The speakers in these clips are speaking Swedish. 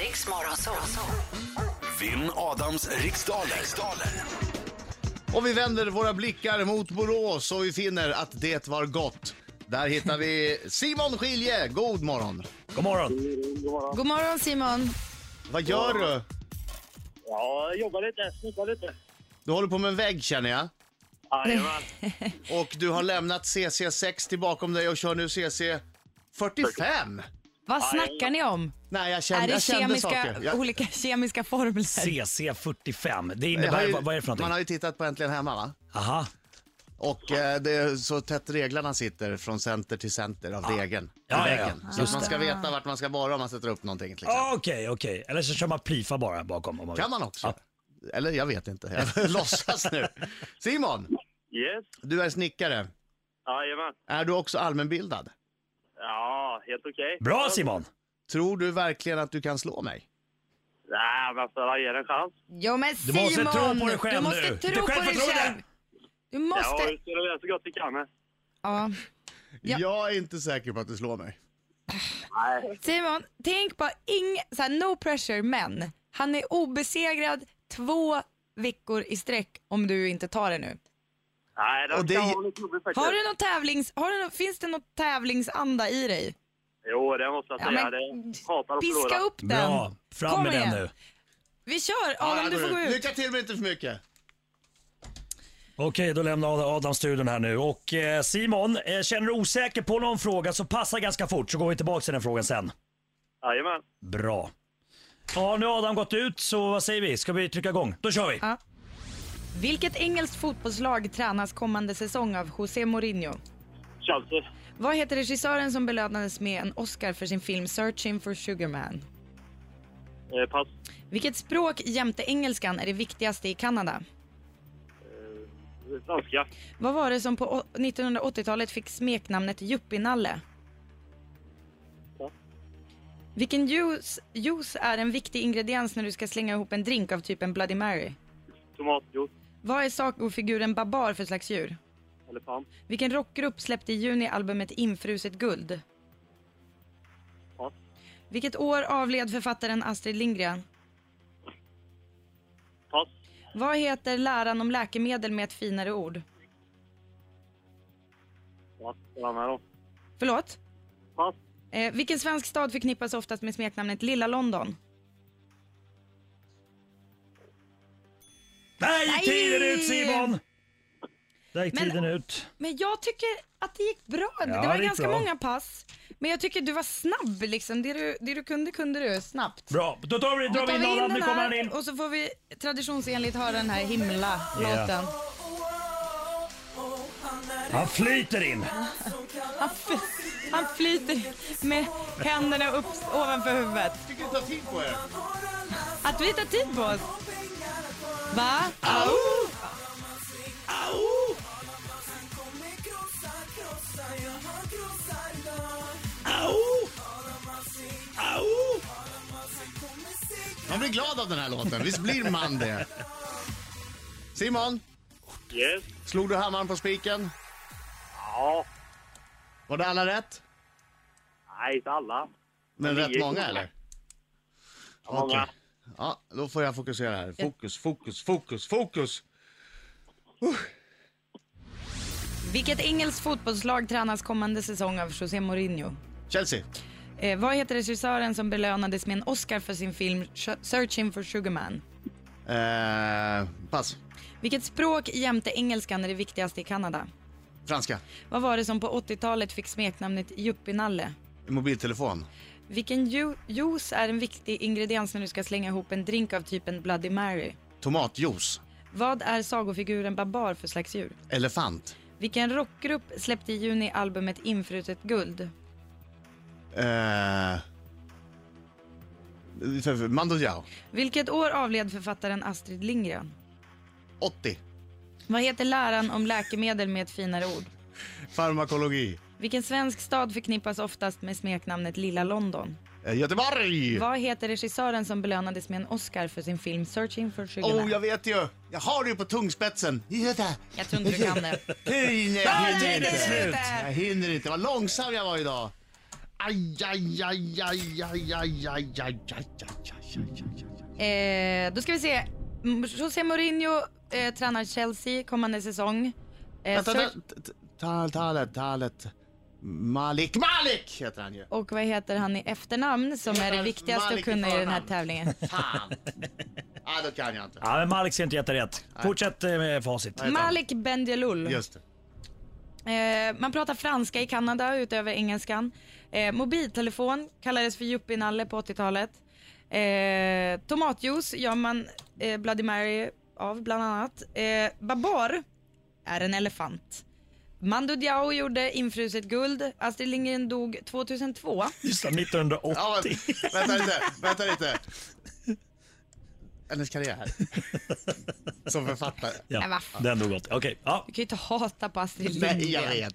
Riks Morgonzoo. Vinn Adams riksdaler. riksdaler. Och vi vänder våra blickar mot Borås och vi finner att det var gott. Där hittar vi Simon Skilje, god morgon. God morgon. God morgon Simon. Vad gör du? Ja, jag jobbar lite, snickar lite. Du håller på med en vägg känner jag. Jajamän. Och du har lämnat CC60 bakom dig och kör nu CC45. Vad snackar ni om? Nej, jag Är kände, det jag kände kemiska, saker. Jag, olika kemiska formler? CC45. Det jag innebär, har ju, vad, vad är det för man har någonting? ju tittat på Äntligen Hemma va? Aha. Och eh, det är så tätt reglarna sitter från center till center av regeln. Ja, av ja, ja. väggen. Så Just att man det. ska veta vart man ska vara om man sätter upp någonting. liksom. Till exempel. Ah, Okej, okej. Eller så kör man plifa bara bakom om man vill. Kan man också. Ja. Eller jag vet inte, jag låtsas nu. Simon, Yes. du är snickare. Jajamän. Är du också allmänbildad? Ja, helt okej. Bra Simon! Tror du verkligen att du kan slå mig? Nej, men för ge det en chans. Jo men Du Simon! måste tro på dig själv Du måste nu. tro Lite på dig självförtroende. själv. Du Ja, måste... vi ska göra så gott vi kan. men. Ja. Ja. Jag är inte säker på att du slår mig. Simon, tänk på ing, så här, no pressure men han är obesegrad två veckor i sträck om du inte tar det nu. Nej, Och det- det kan vara lite jobbigt faktiskt. Har du någon tävlings, har du någon, finns det någon tävlingsanda i dig? Jo, det måste jag säga. det hatar att piska förlora. upp den. Bra, fram Kom med igen. den nu. Vi kör, Adam jag du går får gå ut. Lycka till men inte för mycket. Okej, då lämnar Adam studion här nu. Och eh, Simon, eh, känner du osäker på någon fråga så passa ganska fort så går vi tillbaka till den frågan sen. Jajamän. Bra. Ja, nu har Adam gått ut så vad säger vi? Ska vi trycka igång? Då kör vi! Ja. Vilket engelskt fotbollslag tränas kommande säsong av José Mourinho? Chelsea. Vad heter regissören som belönades med en Oscar för sin film Searching for Sugar Man? Eh, pass. Vilket språk jämte engelskan är det viktigaste i Kanada? Eh, franska. Vad var det som på å- 1980-talet fick smeknamnet yuppienalle? Ja. Vilken juice, juice är en viktig ingrediens när du ska slänga ihop en drink av typen Bloody Mary? Tomatjuice. Vad är sagofiguren Babar för slags djur? Elefant. Vilken rockgrupp släppte i juni albumet Infruset guld? Pass. Vilket år avled författaren Astrid Lindgren? Pass. Vad heter läran om läkemedel med ett finare ord? Pass. Vad med då? Förlåt? Pass. Eh, vilken svensk stad förknippas oftast med smeknamnet Lilla London? Där gick tiden Nej! ut Simon! Där gick Men- tiden ut. Men jag tycker att det gick bra ändå. Ja, det var det gick ganska bra. många pass. Men jag tycker du var snabb liksom. Det du, det du kunde, kunde du snabbt. Bra, då tar vi, Då drar vi in Adam. Nu kommer han in. och så får vi traditionsenligt höra den här himla-låten. Han flyter in. Han, fly- han flyter med händerna upp ovanför huvudet. Tycker du tar tid på er? Att vi tar tid på oss. Va? Man blir glad av den här låten, visst blir man det? Simon, Yes. slog du hammaren på spiken? Ja. Var det alla rätt? Nej, inte alla. Men Ja, rätt nio. många eller? Många. Okej. Ja, då får jag fokusera här. Fokus, fokus, fokus, fokus! Vilket engelskt fotbollslag tränas kommande säsong av José Mourinho? Chelsea, Eh, vad heter regissören som belönades med en Oscar för sin film Sh- Searching for Sugar Man? eh, pass. Vilket språk jämte engelskan är det viktigaste i Kanada? Franska, Vad var det som på 80-talet fick smeknamnet yuppienalle? mobiltelefon, Vilken ju- juice är en viktig ingrediens när du ska slänga ihop en drink av typen Bloody Mary? tomatjuice, Vad är sagofiguren Babar för slags djur? elefant, Vilken rockgrupp släppte i juni albumet Infrutet guld? eh, för- för- Mando Diao, Vilket år avled författaren Astrid Lindgren? 80, Vad heter läran om läkemedel med ett finare ord? farmakologi, Vilken svensk stad förknippas oftast med smeknamnet Lilla London? eh, Göteborg! Vad heter regissören som belönades med en Oscar för sin film Searching for Sugar Oh, Man? jag vet ju! Jag har det ju på tungspetsen. Göta. Jag tror inte du kan det. Hej, nej, jag det hinner är inte. slut. Jag hinner inte. Vad långsam jag var idag. Aj, aj, aj, aj, aj, aj, aj, aj, aj, aj. Eh, då ska vi se. M- José Mourinho eh, tränar Chelsea kommande säsong. Eh, Vänta, Sir- ta- ta- ta- Talet, Talet. Malik, Malik heter han ju. Och vad heter han i efternamn som är det viktigaste att Malik i kunna i den här förnamn. tävlingen? Fan! ah, då kan jag inte. Ja, men Malik ser inte jätterätt. Fortsätt eh, med facit. heter han? Malik Benjelloul. Just det. Eh, man pratar franska i Kanada utöver engelskan. Eh, mobiltelefon kallades för yuppienalle på 80-talet. Eh, tomatjuice gör man eh, Bloody Mary av bland annat. Eh, babar är en elefant. Mando Diao gjorde infruset guld. Astrid Lindgren dog 2002. Just det, 1980. Ja, men, vänta lite, vänta lite. Hennes karriär här. Som författare. Nej, Ja, vad den dog åt. Okej, ja. Du kan ju inte hata på Astrid Lindgren. Nej, jag vet.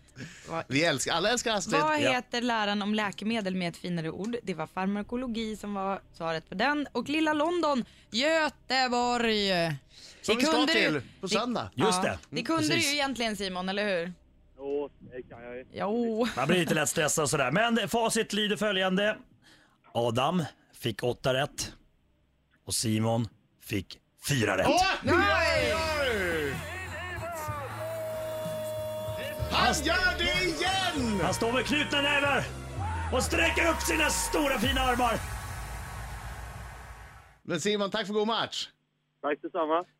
Vi älskar, alla älskar Astrid. Vad ja. heter läran om läkemedel med ett finare ord? Det var farmakologi som var svaret på den. Och lilla London, Göteborg. Som vi ska till på söndag. Just ja, det. Det kunde du Precis. ju egentligen Simon, eller hur? Jo, det kan jag ju. Jo. Man blir lite lätt stressad och sådär. Men facit lyder följande. Adam fick åtta rätt och Simon fick fyra rätt. Oj, oj, oj! Han gör det igen! Han står med knutna nävar och sträcker upp sina stora fina armar. Men Simon, tack för god match. Tack detsamma.